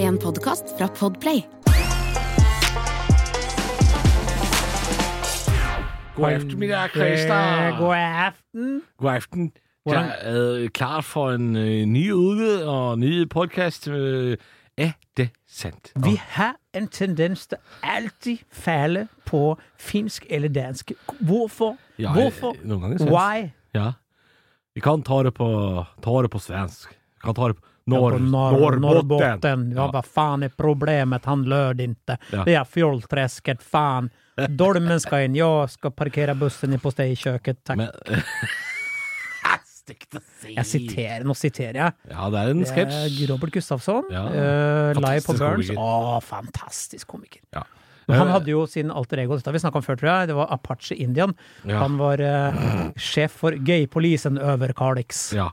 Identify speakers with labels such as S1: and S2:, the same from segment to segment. S1: En podkast fra Podplay.
S2: God aften, mine kredster.
S3: God aften.
S2: Øh, God aften.
S3: Hvordan-
S2: Jeg er klar for en øh, ny uke og ny podcast. Øh, er det sandt?
S3: Vi har en tendens til alltid falle på finsk eller dansk. Hvorfor?
S2: Ja,
S3: Hvorfor?
S2: øh, Noen ganger svensk.
S3: Why?
S2: Ja. Vi kan ta det på, ta det på svensk. Vi kan ta det på Norr,
S3: på
S2: Norrbotten.
S3: Norrbotten. Ja,
S2: Ja.
S3: vad fan är problemet? Han lörde inte.
S2: Ja.
S3: Det är fjollträsket, fan. Dolmen ska in, jag ska parkera bussen i på dig i köket, tack.
S2: Men, Stygt å si.
S3: Jag citerar, nu citerar jag.
S2: Ja, det er en
S3: Det är
S2: sketsj.
S3: Eh, Robert Gustafsson,
S2: Ja.
S3: eh, live på
S2: Fantastisk
S3: Burns.
S2: komiker.
S3: Åh, fantastisk komiker.
S2: Ja.
S3: Men han
S2: Eh,
S3: hadde jo sin alter ego, dette har vi snakka om før, tror jeg. Det var Apache Indian.
S2: Ja.
S3: Han var eh, sjef for Gay Police and Over Kalix.
S2: ja.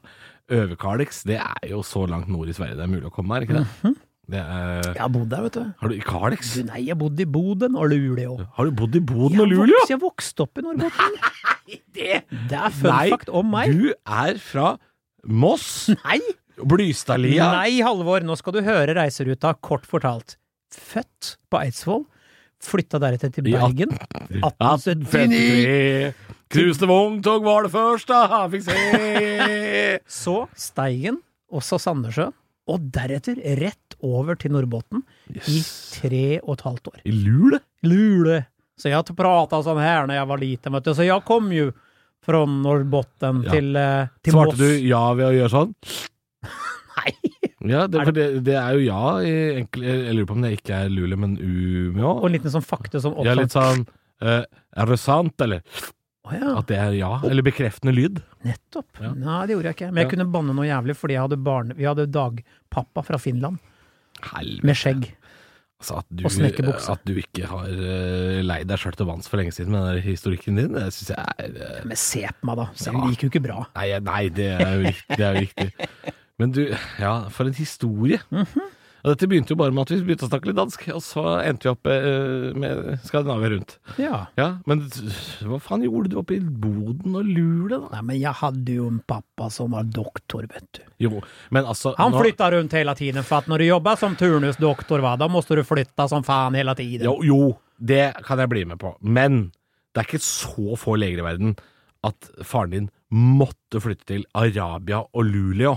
S2: Øverkalix, det er jo så langt nord i Sverige det er mulig å komme, er det ikke det? det er,
S3: Jeg har bodd der, vet du.
S2: har Mhm. du i Kalix?
S3: du nei, jeg bodde i Boden og Luleå.
S2: Har du bodd i Boden og
S3: Jeg
S2: Luleå?
S3: vokste- Jeg vokste opp i Norrbotten. det, er fun
S2: Nei,
S3: fact om meg.
S2: Du er fra Moss,
S3: Nei!
S2: Blystadlia.
S3: Nei, Halvor, nå skal du høre Reiseruta, kort fortalt. Født på Eidsvoll, flytta deretter til
S2: I
S3: Bergen. 1879.
S2: 1853. Knuste vogntog var det første han fikk se.
S3: Så Steigen, og så Sandnessjøen. Og deretter rett over til Norrbotten i tre og et halvt år.
S2: I Lule?
S3: Lule. Så jag pratade sånn her när jag var liten, vet du. Så jag kom ju från Norrbotten
S2: Ja.
S3: till, eh, till
S2: Svarte
S3: Moss.
S2: du ja ved å gjøre sånn?
S3: Nei.
S2: Ja, det, for det, det er jo ja i enkel Jeg lurer på om det ikke er Lule, men U med
S3: Og
S2: å.
S3: en liten sånn fakte som
S2: Ja, litt sånn eh, Er det sant, eller?
S3: Å ja,
S2: At det er ja? Eller bekreftende lyd?
S3: nettopp.
S2: sånn Ja.
S3: Nei, det gjorde jeg ikke. Men jeg
S2: Ja.
S3: kunne banne noe jævlig fordi jeg hadde barne... Vi hadde dagpappa fra Finland
S2: Helvete.
S3: med skjegg.
S2: Altså, at du,
S3: Og snekkerbukse.
S2: At du ikke har eh, leid deg sjøl til vanns for lenge siden med den der historikken din, det syns jeg er eh,
S3: Men se på meg, da. Så
S2: Ja.
S3: Det gikk jo ikke bra.
S2: Nei, nei det, er jo riktig, det er jo riktig. Men du, ja, for en historie. Og dette begynte jo bare med at vi begynte å snakke litt dansk, og så endte vi opp eh, med Skandinavia rundt.
S3: Ja.
S2: Ja, Men hva faen gjorde du oppe i Boden og Lule, da?
S3: Nei, men jeg hadde jo en pappa som var doktor, vet du.
S2: Jo, men altså
S3: Han
S2: nå-
S3: flytta rundt hele tiden, for at når du jobber som turnusdoktor, va, da måtte du flytte som faen hele tiden.
S2: Jo, jo, det kan jeg bli med på. Men det er ikke så få leger i verden at faren din måtte flytte til Arabia og Luleå.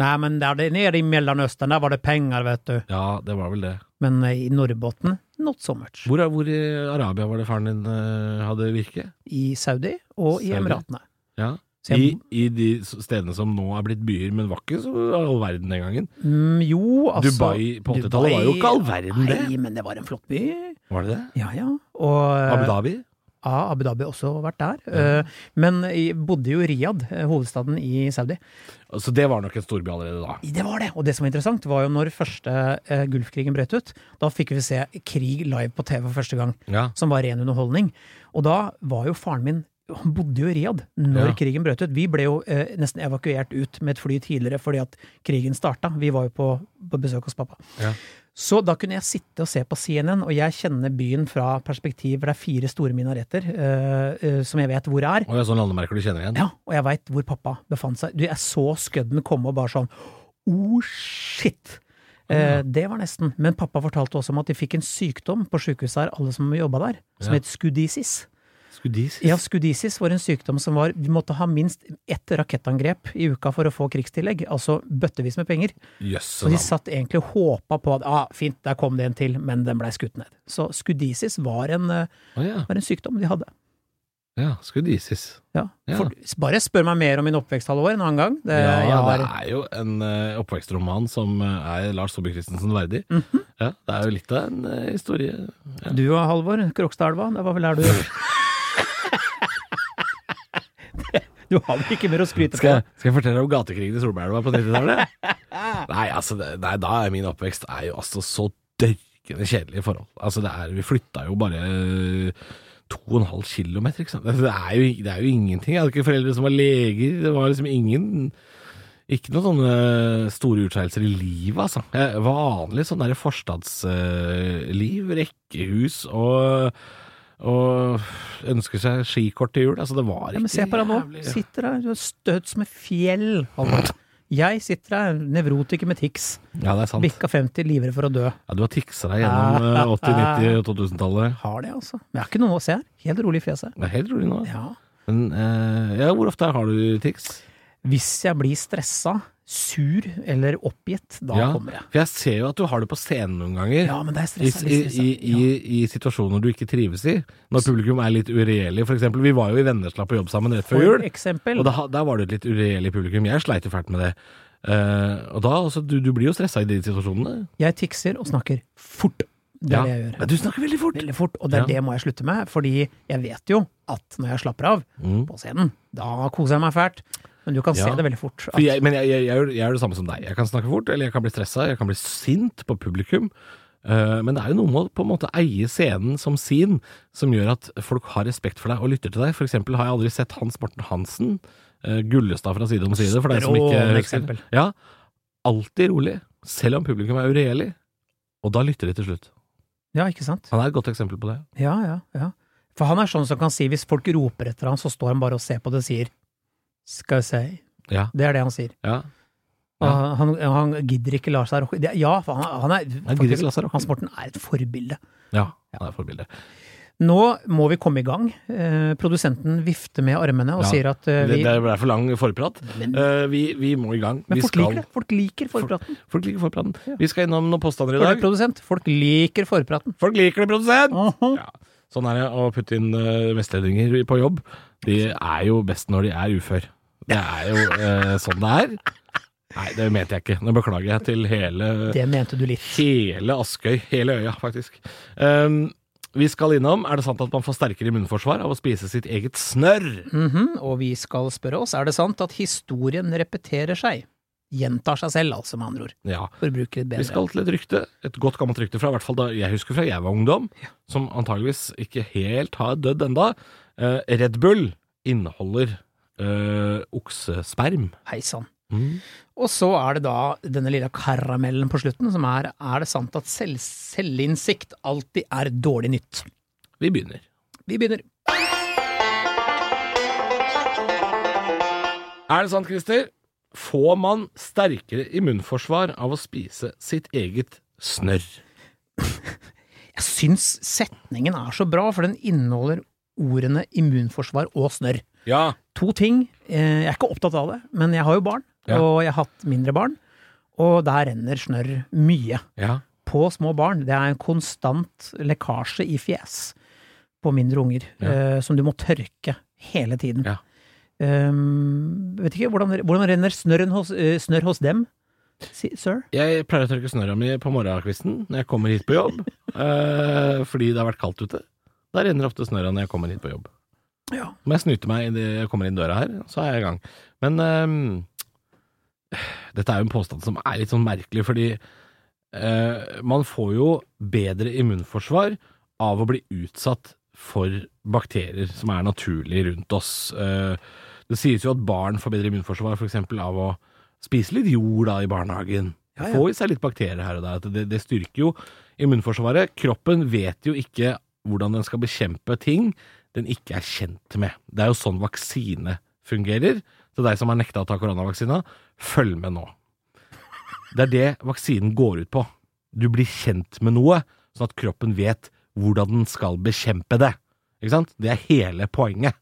S3: Nei, men der det- nede i Mellomøsten, der var det penger, vet du.
S2: Ja, det var vel det.
S3: Men eh, i Norrbotten, not so much.
S2: Hvor, hvor i Arabia var det faren din eh, hadde virke?
S3: I Saudi og i
S2: Saudi.
S3: Emiratene.
S2: Ja.
S3: Så jeg,
S2: I, I de s- stedene som nå er blitt byer, men var ikke så all verden den gangen.
S3: mm, jo, altså
S2: Dubai på 80-tallet var jo ikke all verden, det.
S3: Nei, men det var en flott by.
S2: Var det det?
S3: Ja, ja. Og eh,
S2: Abu Dhabi?
S3: ja, Abu Dhabi også vært der. Eh, Men jeg bodde jo i Riyadh, eh, hovedstaden i Saudi.
S2: Så Altså, det var nok en storby allerede da.
S3: Det var det! Og det som var interessant, var jo når første eh, Gulfkrigen brøt ut. Da fikk vi se krig live på TV for første gang.
S2: Ja.
S3: som var ren underholdning. Og da var jo faren min han bodde jo i Riyadh når
S2: Ja.
S3: krigen brøt ut. Vi ble jo eh, nesten evakuert ut med et fly tidligere fordi at krigen starta. Vi var jo på, på besøk hos pappa.
S2: Ja.
S3: Så da kunne jeg sitte og se på CNN, og jeg kjenner byen fra perspektiv for det er fire store minareter eh, eh, som jeg vet hvor er.
S2: Og det er sånn landemerker du kjenner igjen?
S3: Ja, og jeg veit hvor pappa befant seg. Du, jeg så skudden komme og bare sånn Oh, shit! Eh, det var nesten. Men pappa fortalte også om at de fikk en sykdom på sykehuset her, alle som jobba der, som
S2: Ja.
S3: het skudisis.
S2: Skulle de si?
S3: Ja, skudisis var en sykdom som var Vi måtte ha minst ett rakettangrep i uka for å få krigstillegg, altså bøttevis med penger.
S2: Jøsse
S3: Og de
S2: navn.
S3: satt egentlig og håpa på at ah, fint, der kom det en til, men den blei skutt ned. Så skudisis var en, eh,
S2: Å ja.
S3: var en sykdom de hadde.
S2: ja. Skulle de sies.
S3: Ja.
S2: Ja.
S3: For, bare spør meg mer om min oppvekst, Halvor, en annen gang. Det,
S2: Ja,
S3: Eh, jeg har,
S2: det er jo en eh, oppvekstroman som eh, er Lars Saabye Christensen verdig.
S3: Mhm.
S2: Ja, det er jo litt av en eh, historie. Ja.
S3: Du og Halvor, Krokstadelva, det var vel der du Du har vel ikke mer å skryte
S2: Skal, jeg-
S3: på?
S2: skal jeg fortelle om gatekrigen i Solbergelva på 90-tallet? nei, altså, det, nei, da er min oppvekst er jo altså så dørkende kjedelige forhold. Altså, det er, vi flytta jo bare eh, 2,5 km, ikke sant. Altså, Det er, jo, det er jo ingenting. Jeg hadde ikke foreldre som var leger. Det var liksom ingen Ikke noen sånne store utskeielser i livet, altså. Eh, Vanlig sånn derre forstadsliv. Rekkehus og og ønske seg skikort til jul. Altså, det var ikke
S3: Ja, men se på deg nå.
S2: jævlig-
S3: Sitter der, du er støt som et fjell, Halvor. Jeg sitter her, nevrotiker med tics.
S2: Ja, det er sant.
S3: Bikka 50, livredd for å dø.
S2: Ja, du har tiksa deg gjennom
S3: Ah.
S2: eh, 80-, 90- og 2000-tallet.
S3: Har det, altså. Men jeg har ikke noe å se her. Helt rolig i fjeset.
S2: Det er helt rolig nå.
S3: Ja.
S2: Men eh, ja, hvor ofte har du tics?
S3: Hvis jeg blir stressa, sur eller oppgitt, da
S2: ja.
S3: kommer jeg.
S2: For jeg ser jo at du har det på scenen noen ganger.
S3: Ja, men det er
S2: I,
S3: stressa.
S2: i,
S3: litt stressa.
S2: i, i, I situasjoner du ikke trives i. Når publikum er litt uregjerlig. For eksempel, vi var jo i Vennesla på jobb sammen rett
S3: ja.
S2: før jul.
S3: For eksempel.
S2: Og da, der var det et litt uregjerlig publikum. Jeg sleit jo fælt med det. Eh, og da, altså, du, du blir jo stressa i de situasjonene.
S3: Jeg tikser og snakker fort. Det er det jeg gjør.
S2: Men du snakker veldig fort.
S3: Veldig fort, og det er
S2: Ja.
S3: det må jeg slutte med, fordi jeg vet jo at når jeg slapper av
S2: Mm.
S3: på scenen, da koser jeg meg fælt. Men du kan
S2: Ja.
S3: se det veldig fort.
S2: For jeg, men jeg, jeg, jeg, gjør- jeg gjør det samme som deg. Jeg kan snakke fort, eller jeg kan bli stressa, jeg kan bli sint på publikum. Eh, men det er jo noe med å på en måte eie scenen som sin, som gjør at folk har respekt for deg og lytter til deg. For eksempel har jeg aldri sett Hans Morten Hansen, eh, Gullestad fra Side om side, for deg som ikke
S3: Strålende
S2: husker.
S3: eksempel.
S2: Ja, alltid rolig, selv om publikum er uregjerlig. Og da lytter de til slutt.
S3: Ja, ikke sant?
S2: Han er et godt eksempel på det.
S3: Ja, ja, ja. For han er sånn som kan si, hvis folk roper etter han, så står han bare og ser på det og sier skal jeg si.
S2: Ja.
S3: Det er det han sier.
S2: Ja.
S3: Og
S2: Ja.
S3: Han, han gidder ikke la seg rokke det- Ja, for han, han er
S2: Han gidder ikke la seg rokke.
S3: Hans Morten er et forbilde.
S2: ja. Han er forbilde.
S3: Nå må vi komme i gang. Eh, produsenten vifter med armene og
S2: Ja,
S3: sier at eh,
S2: Det,
S3: vi
S2: det ble for lang forprat.
S3: Men-
S2: Eh, vi, vi må i gang.
S3: Men
S2: vi
S3: folk
S2: skal-
S3: liker det. Folk liker forpraten.
S2: Folk liker forpraten.
S3: Ja.
S2: Vi skal innom noen påstander i
S3: For det,
S2: dag.
S3: produsent. Folk liker forpraten.
S2: Folk liker det, produsent!
S3: Aha.
S2: Ja. Sånn er det å putte inn eh, vestlendinger på jobb. De er jo best når de er ufør. Det er jo eh, sånn det er. Nei, det mente jeg ikke. Nå beklager jeg til hele,
S3: Det mente du litt.
S2: hele Askøy. Hele øya, faktisk. Um, vi skal innom Er det sant at man får sterkere immunforsvar av å spise sitt eget snørr?
S3: Mhm, Og vi skal spørre oss, er det sant at historien repeterer seg? Gjentar seg selv, altså, med andre ord.
S2: Ja.
S3: For å bruke det bedre.
S2: Vi skal til et rykte, et godt gammelt rykte fra i hvert fall da jeg husker fra jeg var ungdom, som antageligvis ikke helt har dødd enda. Eh, Red Bull inneholder eh, oksesperm.
S3: Hei sann. Og så er det da denne lille karamellen på slutten, som er er det sant at selv, selvinnsikt alltid er dårlig nytt?
S2: Vi begynner.
S3: Vi begynner.
S2: Er det sant, Christer? Får man sterkere immunforsvar av å spise sitt eget snørr?
S3: Jeg syns setningen er så bra, for den inneholder ordene immunforsvar og snørr.
S2: Ja.
S3: to ting. Eh, Jeg er ikke opptatt av det, men jeg har jo barn,
S2: Ja.
S3: og jeg har hatt mindre barn. Og der renner snørr mye.
S2: Ja.
S3: På små barn. Det er en konstant lekkasje i fjes på mindre unger,
S2: Ja.
S3: eh, som du må tørke hele tiden.
S2: Ja.
S3: Um, vet ikke, hvordan, hvordan renner snørren hos, eh, snørr hos dem, si, sir?
S2: Jeg pleier å tørke snørra mi på morgenkvisten når jeg kommer hit på jobb, eh, fordi det har vært kaldt ute. Da renner ofte snørra når jeg kommer hit på jobb.
S3: Ja.
S2: må jeg snyte meg idet jeg kommer inn døra her, så er jeg i gang. Men ehm, dette er jo en påstand som er litt sånn merkelig, fordi eh, man får jo bedre immunforsvar av å bli utsatt for bakterier som er naturlig rundt oss. Eh, det sies jo at barn får bedre immunforsvar f.eks. av å spise litt jord da i barnehagen.
S3: Ja, ja.
S2: Få i seg litt bakterier her og der. at Det, det styrker jo immunforsvaret. Kroppen vet jo ikke hvordan den skal bekjempe ting den ikke er kjent med. Det er jo sånn vaksine fungerer. Så deg som har nekta å ta koronavaksina, følg med nå. Det er det vaksinen går ut på. Du blir kjent med noe, sånn at kroppen vet hvordan den skal bekjempe det. Ikke sant? Det er hele poenget.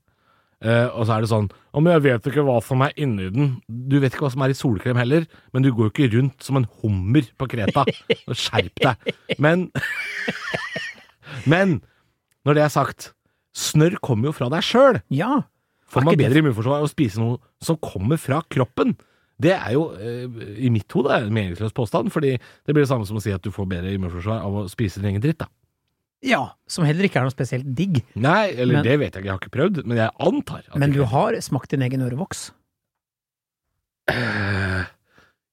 S2: Eh, og så er det sånn Å, men jeg vet ikke hva som er inni den. Du vet ikke hva som er i solkrem heller, men du går jo ikke rundt som en hummer på Kreta. Så Skjerp deg. Men Men når det er sagt, snørr kommer jo fra deg sjøl.
S3: Ja.
S2: Får
S3: Er
S2: man
S3: ikke det-
S2: bedre immunforsvar av å spise noe som kommer fra kroppen? Det er jo, eh, i mitt hode, en meningsløs påstand, fordi det blir det samme som å si at du får bedre immunforsvar av å spise din egen dritt, da.
S3: ja. Som heller ikke er noe spesielt digg.
S2: Nei, eller
S3: Men-
S2: det vet jeg ikke, jeg har ikke prøvd, men jeg antar at
S3: Men
S2: det
S3: du
S2: kan-
S3: har smakt din egen ørevoks.
S2: Eh,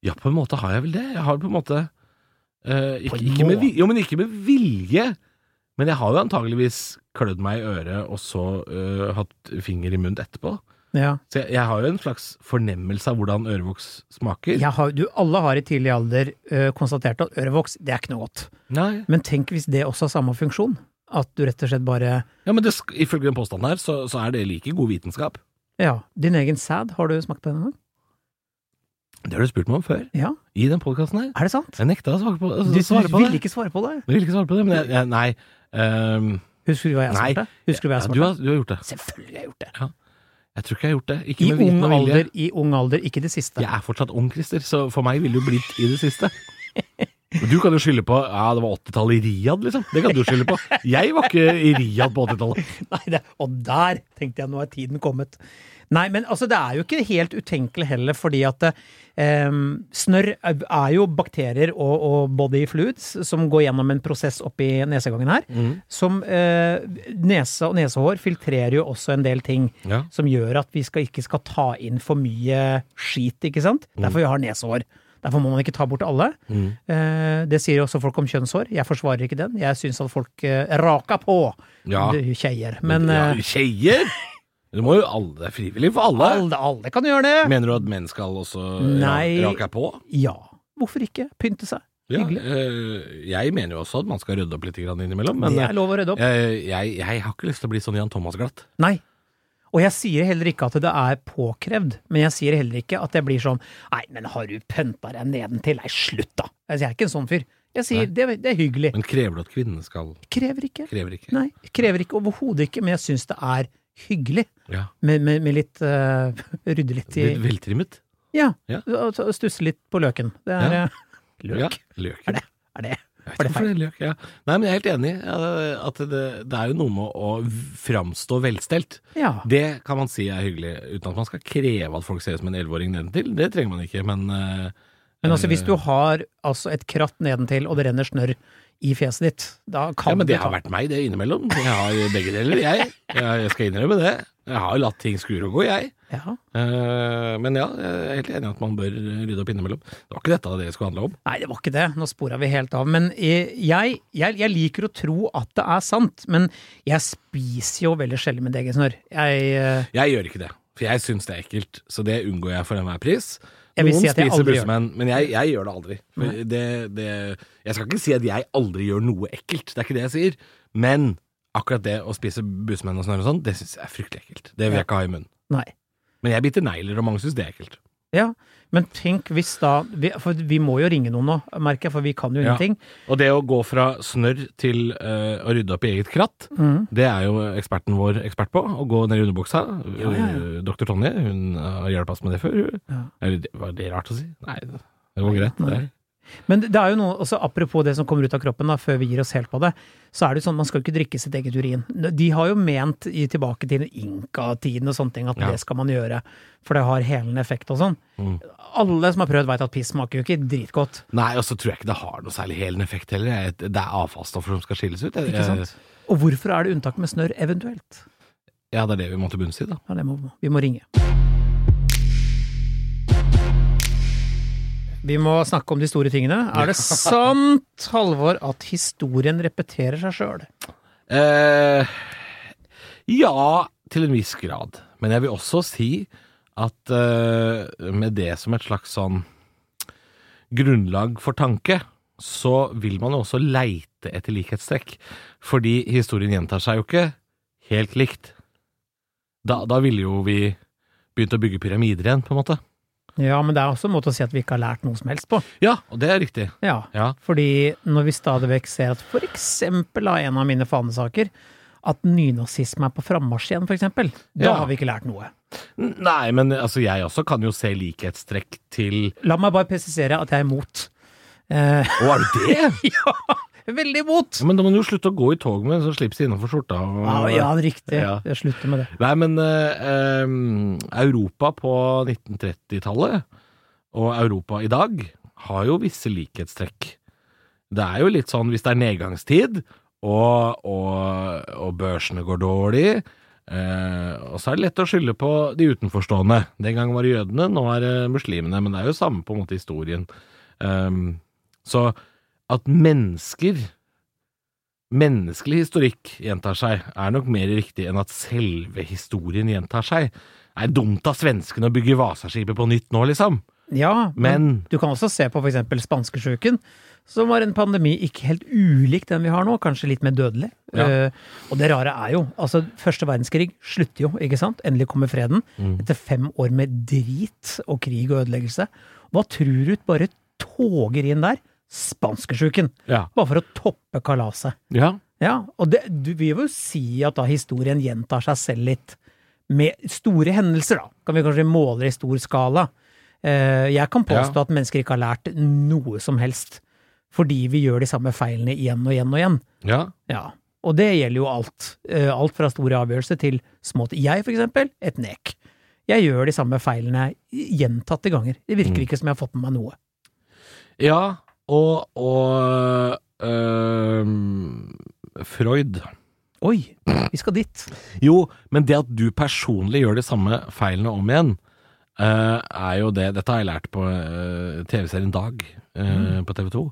S2: Ja, på en måte har jeg vel det. Jeg har på en måte eh, ikke,
S3: På en
S2: ikke med,
S3: måte.
S2: vi- Jo, men ikke med vilje. Men jeg har jo antageligvis klødd meg i øret og så eh, hatt finger i munnen etterpå.
S3: Ja.
S2: Så jeg, jeg har jo en slags fornemmelse av hvordan ørevoks smaker.
S3: Jeg har, du, alle har i tidlig alder ø, konstatert at ørevoks, det er ikke noe godt.
S2: Nei.
S3: Men tenk hvis det også har samme funksjon? At du rett og slett bare
S2: Ja, men det, sk- ifølge den påstanden her, så, så er det like god vitenskap.
S3: Ja, din egen sæd, har du smakt den en gang?
S2: Det har du spurt meg om før,
S3: Ja,
S2: i den podkasten her.
S3: er det sant?
S2: Jeg nekta å svare på,
S3: Du,
S2: å svare på
S3: ville
S2: det.
S3: ikke svare på det.
S2: Du ville ikke svare på det, men jeg, jeg, nei. ehm,
S3: Husker du hva jeg
S2: Nei.
S3: svarte? Husker du hva jeg
S2: ja,
S3: svarte?
S2: du, har, du har gjort det.
S3: Selvfølgelig har jeg gjort det.
S2: Jeg tror ikke jeg har gjort det. Ikke
S3: I
S2: med
S3: ung
S2: viten og vilje.
S3: alder, i ung alder, ikke det siste.
S2: Jeg er fortsatt ung, Christer, så for meg ville det jo blitt i det siste. Du kan jo skylde på ja, det var 80-tallet i Riyadh, liksom. Det kan du skylde på. Jeg var ikke i Riyadh på 80-tallet.
S3: Nei, det, og der tenkte jeg nå er tiden kommet. Nei, men altså, det er jo ikke helt utenkelig heller, fordi at eh, snørr er jo bakterier og, og body fluids som går gjennom en prosess oppi nesegangen her. Som eh, nese og nesehår filtrerer jo også en del ting.
S2: Ja.
S3: Som gjør at vi skal, ikke skal ta inn for mye skit, ikke sant?
S2: Mm.
S3: Derfor vi har nesehår. Derfor må man ikke ta bort alle. Eh, det sier også folk om kjønnshår. Jeg forsvarer ikke den. Jeg syns at folk eh, raka på,
S2: Ja.
S3: du kjeier. Men
S2: ja,
S3: eh,
S2: Tjejer! Du må jo alle, det er frivillig for alle.
S3: alle, alle kan gjøre det!
S2: Mener du at menn skal også
S3: Nei.
S2: ra- rake på?
S3: Ja. Hvorfor ikke? Pynte seg.
S2: Ja,
S3: Hyggelig.
S2: eh, jeg mener jo også at man skal rydde opp litt grann innimellom, men
S3: det
S2: eh,
S3: er lov å rydde opp.
S2: jeg, jeg, jeg har ikke lyst til å bli sånn Jan Thomas glatt.
S3: Nei. Og jeg sier heller ikke at det er påkrevd, men jeg sier heller ikke at jeg blir sånn Nei, men har du pynta deg nedentil? Nei, slutt, da! Altså, jeg er ikke en sånn fyr. Jeg sier det, det er hyggelig.
S2: Men krever du at kvinnene skal
S3: Krever ikke.
S2: Krever ikke.
S3: Nei, krever ikke overhodet ikke, men jeg syns det er hyggelig
S2: Ja.
S3: med, med, med litt eh, Rydde litt i
S2: Litt veltrimmet.
S3: Ja.
S2: Ja.
S3: og- og Stusse litt på løken. Det er
S2: Ja.
S3: eh, Løk?
S2: Ja, løk.
S3: Er det er det?
S2: Jeg vet ikke hvorfor det er løk, ja. Nei, men jeg er helt enig ja, det- at det, det er jo noe med å framstå velstelt.
S3: Ja.
S2: Det kan man si er hyggelig, uten at man skal kreve at folk ser ut som en elleveåring nedentil. Det trenger man ikke, men eh,
S3: Men altså, hvis du har altså, et kratt nedentil, og det renner snørr i fjeset ditt, da kan
S2: ja, men det
S3: du ta-
S2: har vært meg, det innimellom. Jeg har begge deler, jeg. Jeg, jeg skal innrømme det. Jeg har jo latt ting skure og gå, jeg.
S3: Ja.
S2: Eh, men ja, jeg er helt enig i at man bør rydde opp innimellom. Det var ikke dette det skulle handle om.
S3: Nei, det var ikke det. Nå spora vi helt av. Men eh, jeg, jeg, jeg liker å tro at det er sant, men jeg spiser jo veldig sjelden mitt eget snørr. Jeg, eh,
S2: Jeg gjør ikke det, for jeg syns det er ekkelt, så det unngår jeg for enhver pris.
S3: Jeg vil
S2: Noen
S3: si at jeg
S2: spiser
S3: aldri gjør det.
S2: bussemenn, men jeg, jeg gjør det aldri. For Det, det, jeg skal ikke si at jeg aldri gjør noe ekkelt, det er ikke det jeg sier. Men akkurat det å spise bussemenn og snørr og sånn, det syns jeg er fryktelig ekkelt. Det vil jeg ikke ha i munnen.
S3: nei.
S2: Men jeg biter negler, og mange syns det er ekkelt.
S3: Ja, men tenk hvis da vi, For vi må jo ringe noen nå, merker jeg, for vi kan jo
S2: Ja.
S3: ingenting.
S2: Og det å gå fra snørr til eh, å rydde opp i eget kratt,
S3: Mhm.
S2: det er jo eksperten vår ekspert på. Å gå ned i underbuksa.
S3: Ja, ja, ja.
S2: Eh, Dr. Tonje, hun har hjulpet oss med det før. hun.
S3: Ja.
S2: Eller det- var det rart å si? Nei, det var greit.
S3: Nei.
S2: Det er-
S3: Men det det er jo noe, også apropos det som kommer ut av kroppen, da, før vi gir oss helt på det, så er det jo sånn man skal jo ikke drikke sitt eget urin. De har jo ment i tilbake til inkatiden og sånne ting at
S2: Ja.
S3: det skal man gjøre, for det har helende effekt og sånn.
S2: Mm.
S3: Alle som har prøvd veit at piss smaker jo ikke dritgodt.
S2: Nei, og så tror jeg ikke det har noe særlig helende effekt heller. Jeg- Det er avfallsstoffer som skal skilles ut. Jeg-
S3: Ikke sant? Og hvorfor er det unntak med snørr, eventuelt?
S2: Ja, det er det vi må til bunns i, da.
S3: Ja, det må, vi må ringe. Vi må snakke om de store tingene. Er det sant, Halvor, at historien repeterer seg sjøl?
S2: Eh, ja, til en viss grad. Men jeg vil også si at eh, med det som et slags sånn grunnlag for tanke, så vil man jo også leite etter likhetstrekk. Fordi historien gjentar seg jo ikke helt likt. Da, da ville jo vi begynt å bygge pyramider igjen, på en måte.
S3: Ja, men det er også en måte å si at vi ikke har lært noe som helst på.
S2: Ja, og det er riktig.
S3: Ja,
S2: Ja.
S3: Fordi når vi stadig vekk ser at for eksempel av en av mine fanesaker, at nynazisme er på frammarsj igjen, for eksempel, da
S2: Ja.
S3: har vi ikke lært noe.
S2: Nei, men altså, jeg også kan jo se likhetstrekk til
S3: La meg bare presisere at jeg er imot. Eh,
S2: Å, er du det?!
S3: ja, veldig imot!
S2: Ja, men da må du jo slutte å gå i tog med en sånn slips innafor skjorta. Og,
S3: Ja, ja riktig.
S2: Ja.
S3: Jeg slutter med det.
S2: Nei, men eh, em, Europa på 1930-tallet og Europa i dag har jo visse likhetstrekk. Det er jo litt sånn hvis det er nedgangstid, og, og, og børsene går dårlig, eh, og så er det lett å skylde på de utenforstående. Den gang var det jødene, nå er det muslimene, men det er jo samme på en måte historien. Em, så at mennesker menneskelig historikk gjentar seg, er nok mer riktig enn at selve historien gjentar seg. Det er dumt av svenskene å bygge Vasaskipet på nytt nå, liksom.
S3: Ja, men
S2: Men
S3: du kan også se på for eksempel spanskesjuken, som var en pandemi ikke helt ulik den vi har nå, kanskje litt mer dødelig.
S2: Ja.
S3: Eh, og det rare er jo, altså første verdenskrig slutter jo, ikke sant? Endelig kommer freden. Etter fem år med drit og krig og ødeleggelse. Hva tror du bare toger inn der? Spanskersjuken.
S2: Ja.
S3: Bare for å toppe kalaset.
S2: ja.
S3: Ja, og det, du vil jo si at da historien gjentar seg selv litt. Med store hendelser, da. Kan vi kanskje måle i stor skala. Eh, Jeg kan påstå
S2: Ja.
S3: at mennesker ikke har lært noe som helst. Fordi vi gjør de samme feilene igjen og igjen og igjen.
S2: ja.
S3: Ja. Og det gjelder jo alt. Eh, Alt fra store avgjørelser til små ting. Jeg, for eksempel, et nek. Jeg gjør de samme feilene gjentatte ganger. Det virker
S2: Mm.
S3: ikke som jeg har fått med meg noe.
S2: Ja, og, og øhm, Freud.
S3: Oi, vi skal dit.
S2: Jo, men det at du personlig gjør de samme feilene om igjen, eh, er jo det Dette har jeg lært på eh, TV-serien Dag eh, på TV 2.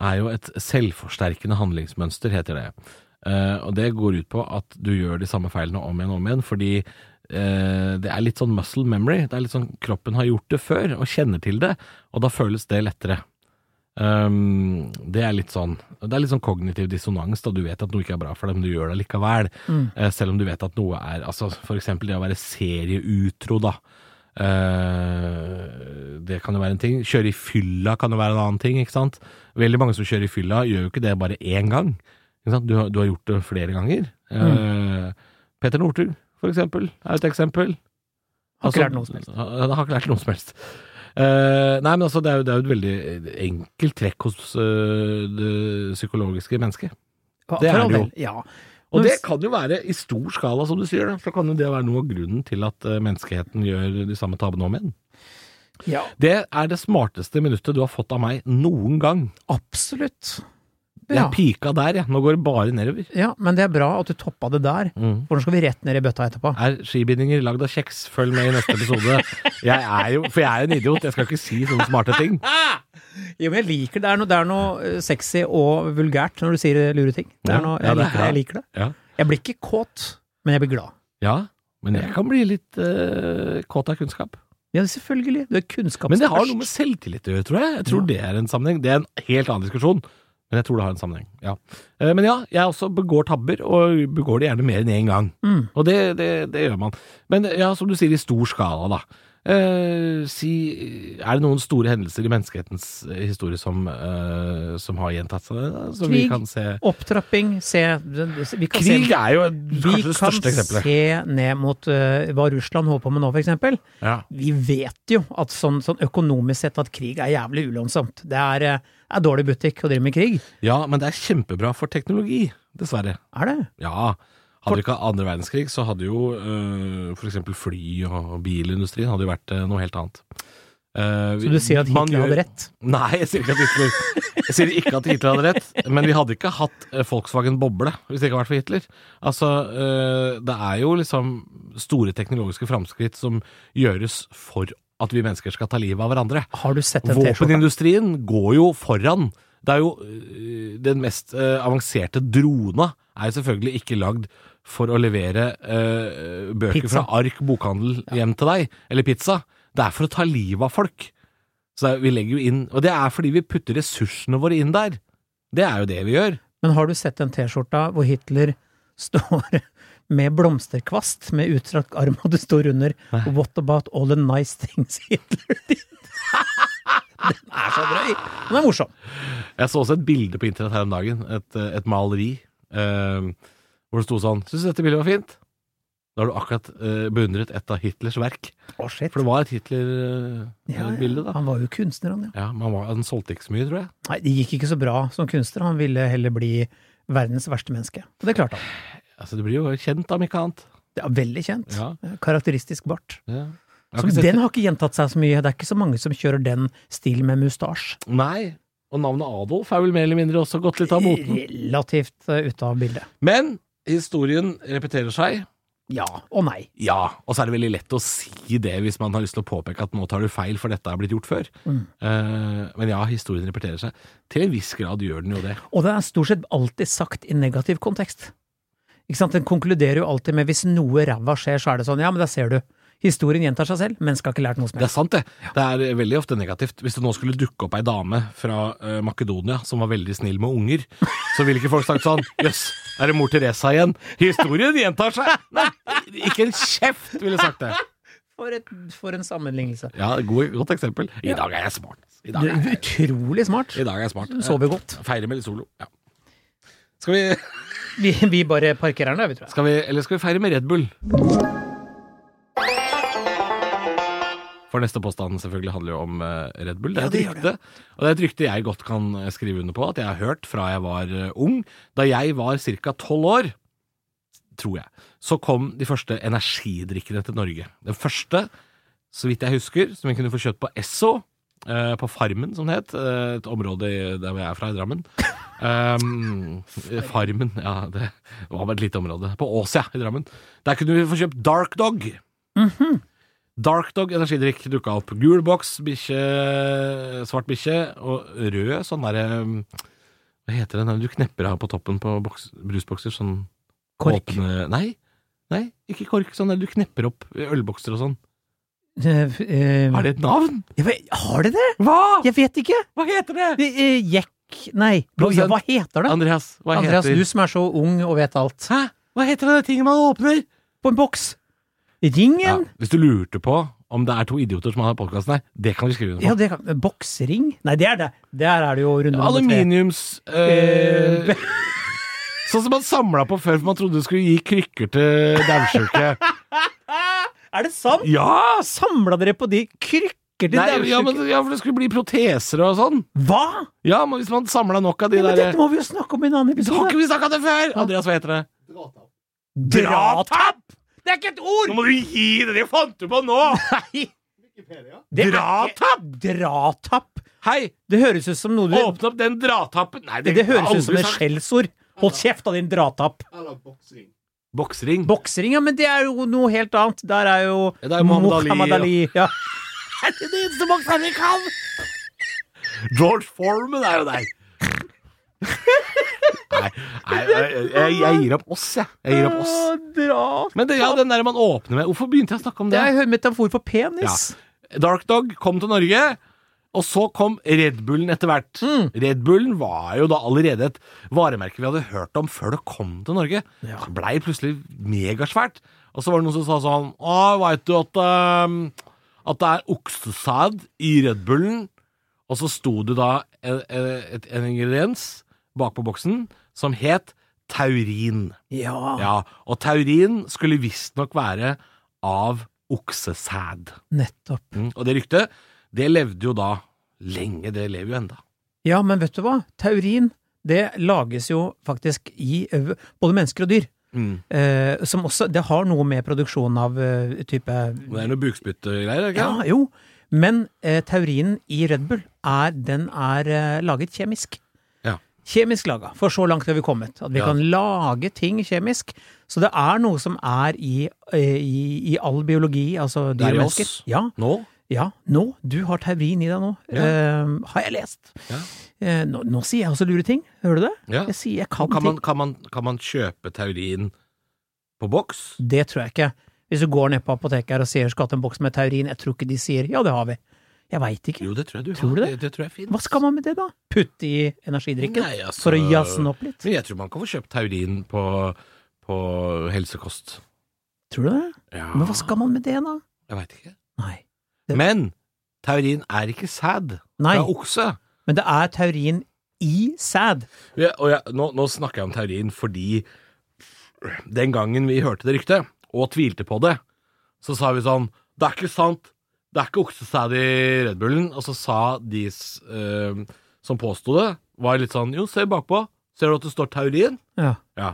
S2: Er jo et selvforsterkende handlingsmønster, heter det. Eh, og det går ut på at du gjør de samme feilene om igjen og om igjen, fordi eh, det er litt sånn muscle memory. Det er litt sånn kroppen har gjort det før og kjenner til det, og da føles det lettere. Um, det er litt sånn Det er litt sånn kognitiv dissonans, da du vet at noe ikke er bra for deg, men du gjør det likevel.
S3: Mm.
S2: Eh, selv om du vet at noe er Altså for eksempel det å være serieutro, da. Eh, det kan jo være en ting. Kjøre i fylla kan jo være en annen ting, ikke sant. Veldig mange som kjører i fylla, gjør jo ikke det bare én gang. Ikke sant? Du, har- du har gjort det flere ganger. Eh, Peter Northug, for eksempel, er et eksempel.
S3: Har ikke
S2: Altså,
S3: lært noe som helst.
S2: Han har ikke lært noe som helst. Eh, nei, men altså, det er, jo, det er jo et veldig enkelt trekk hos eh, det psykologiske mennesket. Det
S3: For
S2: er
S3: all
S2: det jo.
S3: del, Ja.
S2: Og
S3: Men
S2: det
S3: hvis-
S2: kan jo være i stor skala, som du sier. Da. Så kan jo det være noe av grunnen til at eh, menneskeheten gjør de samme tabbene om igjen.
S3: ja.
S2: Det er det smarteste minuttet du har fått av meg noen gang.
S3: Absolutt.
S2: Jeg
S3: Ja.
S2: pika der, jeg. Nå går det bare nedover.
S3: ja, men det er bra at du toppa det der.
S2: Mm.
S3: For nå skal vi rett ned i bøtta etterpå.
S2: Er skibindinger lagd av kjeks? Følg med i neste episode. Jeg er jo, for jeg er en idiot, jeg skal ikke si sånne smarte ting.
S3: Jo, men jeg liker det. Det er noe, det er noe eh, sexy og vulgært når du sier lure ting. Det
S2: Ja,
S3: er noe,
S2: ja,
S3: jeg,
S2: det
S3: liker
S2: er-
S3: det, jeg liker det.
S2: Ja,
S3: Jeg blir ikke kåt, men jeg blir glad.
S2: ja men jeg kan bli litt eh, kåt av kunnskap.
S3: Ja, selvfølgelig. Du er
S2: Men det har noe
S3: kunnskapstørst.
S2: med selvtillit å gjøre, tror jeg. Jeg tror det er en sammenheng. Det er en helt annen diskusjon, men jeg tror det har en sammenheng. Ja. Eh, Men ja, jeg også begår tabber, og begår det gjerne mer enn én gang.
S3: Mm.
S2: Og det, det, det gjør man. Men ja, som du sier, i stor skala, da. Eh, si, er det noen store hendelser i menneskehetens eh, historie som, eh, som har gjentatt seg? da? Som vi
S3: Krig.
S2: kan se
S3: Opptrapping, se vi kan
S2: Krig
S3: se,
S2: er jo
S3: vi
S2: kanskje det
S3: kan
S2: største eksempelet.
S3: se ned mot eh, hva Russland holder på med nå, for eksempel.
S2: Ja.
S3: Vi vet jo at sånn, sånn økonomisk sett at krig er jævlig ulønnsomt. Det er, eh, er dårlig butikk å drive med krig.
S2: ja, men det er kjempebra for teknologi, dessverre.
S3: Er det?
S2: Ja. Hadde vi ikke hatt andre verdenskrig, så hadde jo øh, f.eks. fly- og bilindustrien hadde jo vært øh, noe helt annet. Eh, vi-
S3: Så du sier at
S2: man
S3: Hitler
S2: gjør-
S3: hadde rett?
S2: Nei, jeg sier, ikke at Hitler, jeg sier ikke at Hitler hadde rett. Men vi hadde ikke hatt eh, Volkswagen Boble hvis det ikke hadde vært for Hitler. Altså, eh, det er jo liksom store teknologiske framskritt som gjøres for at vi mennesker skal ta livet av hverandre.
S3: Har du sett den T-skjorta?
S2: Våpenindustrien går jo foran. Det er jo øh, Den mest øh, avanserte drona er jo selvfølgelig ikke lagd for å levere øh, bøker
S3: Pizza.
S2: fra ark bokhandel hjem til deg, eller pizza. Det er for å ta livet av folk. Så det er, vi legger jo inn Og det er fordi vi putter ressursene våre inn der. Det er jo det vi gjør.
S3: Men har du sett den T-skjorta hvor Hitler står med blomsterkvast med utstrakt arm, og det står under 'What about all the nice things Hitler did'? Den er så drøy! Den er morsom.
S2: Jeg så også et bilde på internett her om dagen. Et, øh, et maleri. øh, hvor det sto sånn Syns du dette bildet var fint? Da har du akkurat øh, beundret et av Hitlers verk.
S3: Å, shit.
S2: For det var et Hitler-bilde, da.
S3: Han var jo kunstner, han, ja.
S2: Ja, men han, var, han solgte ikke så mye, tror jeg.
S3: Nei, det gikk ikke så bra som kunstner. Han ville heller bli verdens verste menneske. Og det klarte han.
S2: Altså, Det blir jo kjent, om ikke annet.
S3: Det er veldig kjent. Eh,
S2: Ja.
S3: Karakteristisk bart.
S2: Ja. Jeg har
S3: Som,
S2: ikke sett
S3: den har ikke gjentatt seg så mye. Det er ikke så mange som kjører den stilen med mustasje.
S2: det. Nei, og navnet Adolf er vel mer eller mindre også gått litt av moten.
S3: Relativt eh, ute av bildet.
S2: Men historien repeterer seg.
S3: Ja og nei.
S2: Ja, og så er det veldig lett å si det hvis man har lyst til å påpeke at nå tar du feil, for dette er blitt gjort før.
S3: Mm.
S2: Eh, men ja, historien repeterer seg. Til en viss grad gjør den jo det.
S3: Og det er stort sett alltid sagt i negativ kontekst. Ikke sant? Den konkluderer jo alltid med hvis noe ræva skjer, så er det sånn ja, men der ser du. Historien gjentar seg selv. Mennesket har ikke lært noe som
S2: Det er
S3: helst.
S2: sant, det. Det er eh, veldig ofte negativt. Hvis det nå skulle dukke opp ei dame fra eh, Makedonia som var veldig snill med unger, så ville ikke folk sagt sånn Jøss, er det mor Teresa igjen? Historien gjentar seg! Nei, ikke en kjeft ville sagt det.
S3: For, et, for en sammenlignelse.
S2: Ja, god, godt eksempel. I dag er jeg smart. I
S3: Du
S2: dag er
S3: er
S2: jeg,
S3: utrolig smart.
S2: i dag er jeg smart.
S3: Du sover godt.
S2: Feirer med litt solo. Ja. Skal vi,
S3: Vi, vi bare parkerer den der, vi, tror jeg.
S2: skal vi Eller skal vi feire med Red Bull? For neste påstand selvfølgelig handler jo om eh, Red Bull. Det er et
S3: Ja, det gjør
S2: rykte, og det er et rykte jeg godt kan eh, skrive under på, at jeg har hørt fra jeg var eh, ung. Da jeg var ca. tolv år, tror jeg, så kom de første energidrikkene til Norge. Den første, så vidt jeg husker, som vi kunne få kjøpt på Esso, eh, på Farmen som det het, eh, et område i- der hvor jeg er fra, i Drammen. Um, farmen, ja, det var bare et lite område. På Ås, ja, i Drammen. Der kunne vi få kjøpt Dark Dog. Dark Dog energidrikk dukka opp. Gul boks, bikkje, svart bikkje og rød sånn derre Hva heter den der du knepper av på toppen på boks, brusbokser? Sånn
S3: Kork.
S2: åpne Nei, nei, ikke kork. Sånn der du knepper opp ølbokser og sånn.
S3: Eh, eh,
S2: Har det et navn?
S3: Ja, men har det det?
S2: Hva?
S3: Jeg vet ikke!
S2: Hva heter det?
S3: Det er Jekk Nei, hva
S2: Produsent.
S3: hva heter det?
S2: Andreas, hva
S3: Andreas,
S2: heter
S3: du som er så ung og vet alt.
S2: Hæ? Hva heter det tingen man åpner?
S3: På en boks! Ringen?
S2: hvis du lurte på om det er to idioter som har podkasten her, det kan vi skrive under
S3: Ja,
S2: på.
S3: det kan Boksring? Nei, det er det. Der er det jo runde nummer tre.
S2: Aluminiums...
S3: Eh,
S2: Eh, sånn som man samla på før, for man trodde du skulle gi krykker til daudsjuke.
S3: Er det sant?
S2: ja! s-
S3: Samla dere på de krykker til
S2: Nei, ja,
S3: daudsjuke?
S2: men, ja, for det skulle bli proteser og sånn.
S3: Hva?!
S2: Ja, men hvis man samla nok av de
S3: Ja, men
S2: der
S3: dette må vi jo snakke om i en annen
S2: Så har
S3: episode.
S2: ikke vi snakka det før! Andreas, hva heter det?
S3: Dratapp! Det er ikke et ord!
S2: må du gi det! Det fant du på nå!
S3: Nei! Det er ikke-
S2: Dratapp!
S3: Dratapp!
S2: Hei,
S3: Det høres ut som noe du
S2: åpne opp den dratappen! Nei,
S3: Det høres ut som
S2: aldri
S3: et
S2: sagt.
S3: skjellsord. Hold kjeft av din dratapp.
S1: Eller boksring.
S2: Boksring.
S3: Boksring, ja, men det er jo noe helt annet. Der er jo
S2: Ja, det er Muhammad Ali, ja.
S3: Ja.
S2: er det det eneste bokseren vi kan? George Foreman er jo der. nei, nei jeg, jeg, jeg gir opp oss, jeg. Jeg gir opp oss.
S3: Å, Drat.
S2: Men det, ja, den der man åpner med Hvorfor begynte jeg å snakke om
S3: Det
S2: det?
S3: er jo en metafor for penis.
S2: Dark Dog kom til Norge, og så kom Red Bullen etter hvert. Red Bullen var jo da allerede et varemerke vi hadde hørt om før det kom til Norge.
S3: Ja.
S2: Det blei plutselig megasvært. Og så var det noen som sa sånn Å, veit du at, ehm, at det er oksesæd i Red Bullen? Og så sto det da en, en, en ingrediens bakpå boksen som het taurin.
S3: Ja.
S2: Ja, og taurin skulle visstnok være av oksesæd.
S3: Nettopp.
S2: Mm. Og det ryktet, det levde jo da lenge, det lever jo enda.
S3: Ja, men vet du hva? Taurin, det lages jo faktisk i ø, både mennesker og dyr. Eh, som også Det har noe med produksjonen av ø, type
S2: Men Det er noe bukspyttgreier, er det ikke?
S3: Ja, jo. Men eh, teorien i Red Bull er, den er eh, laget kjemisk.
S2: Ja.
S3: Kjemisk laga, for så langt har vi kommet. At vi
S2: Ja.
S3: kan lage ting kjemisk. Så det er noe som er i, eh, i, i all biologi, altså
S2: Det
S3: dyr
S2: er i
S3: og mennesker.
S2: oss
S3: Ja,
S2: nå.
S3: ja, nå. Du har taurin i deg nå.
S2: Ja.
S3: Eh, har jeg lest.
S2: Ja.
S3: Eh, nå, nå sier jeg også lure ting. Hører du det?
S2: Ja.
S3: Jeg sier jeg kan,
S2: Kan, man, kan, man, kan man kjøpe taurin på boks?
S3: ting. Det tror jeg ikke. Hvis du går ned på apoteket her og sier 'skal du ha en boks med taurin', jeg tror ikke de sier 'ja, det har vi'. Jeg veit ikke.
S2: Jo, det tror jeg du har.
S3: Tror du det?
S2: Det, tror jeg finnes.
S3: Hva skal man med det, da? Putte i energidrikken?
S2: Nei, altså-
S3: For å jazze den opp litt?
S2: Men jeg tror man kan få kjøpt taurin på, på helsekost.
S3: Tror du det?
S2: Ja.
S3: Men hva skal man med det, da?
S2: Jeg veit ikke.
S3: Nei. Det-
S2: Men taurin er ikke sæd.
S3: Nei,
S2: Det er okse.
S3: men det er taurin i sæd.
S2: Ja, og jeg, nå, nå snakker jeg om teorien fordi den gangen vi hørte det ryktet, og tvilte på det, så sa vi sånn Det er ikke sant. Det er ikke oksesæd i Red Bullen. Og så sa de s- eh, som påsto det, var litt sånn Jo, se bakpå. Ser du at det står taurin?
S3: Ja.
S2: Ja.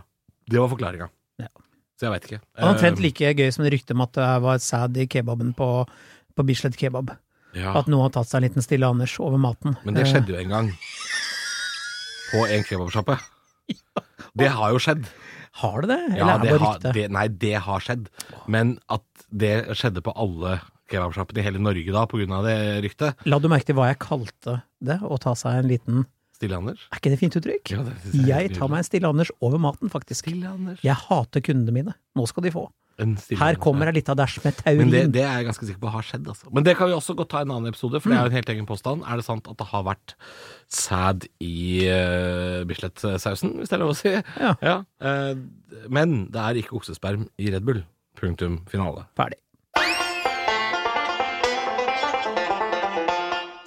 S2: Det var forklaringa.
S3: Ja.
S2: Så jeg veit ikke.
S3: Det er Omtrent
S2: Eh,
S3: like gøy som det ryktet om at det var sæd i kebaben på, på Bislett kebab.
S2: ja.
S3: At noen har tatt seg en liten Stille Anders over maten.
S2: Men det
S3: Eh,
S2: skjedde jo en gang. På en kebabsjappe. Det har jo skjedd.
S3: Har det det? Eller
S2: Ja,
S3: er
S2: det
S3: det bare
S2: har,
S3: rykte?
S2: det, nei, det har skjedd. Men at det skjedde på alle kebabsjappene i hele Norge da, på grunn av det ryktet
S3: La du merke til hva jeg kalte det? Å ta seg en liten
S2: Stille Anders?
S3: Er ikke det fint uttrykk?
S2: Ja, det synes jeg er
S3: Jeg tar meg en Stille Anders over maten, faktisk.
S2: Stille Anders.
S3: Jeg hater kundene mine. Nå skal de få.
S2: En stille
S3: Her
S2: Anders, ja.
S3: kommer ei lita dæsj med
S2: Men det,
S3: taurin.
S2: det er jeg ganske sikker på har skjedd. Altså. Men det kan vi også godt ta i en annen episode, for det er jo en helt egen påstand. Er det sant at det har vært sæd i uh, Bislett-sausen, hvis det er lov å si?
S3: Ja.
S2: eh, men det er ikke oksesperm i Red Bull. Punktum finale.
S3: Ferdig.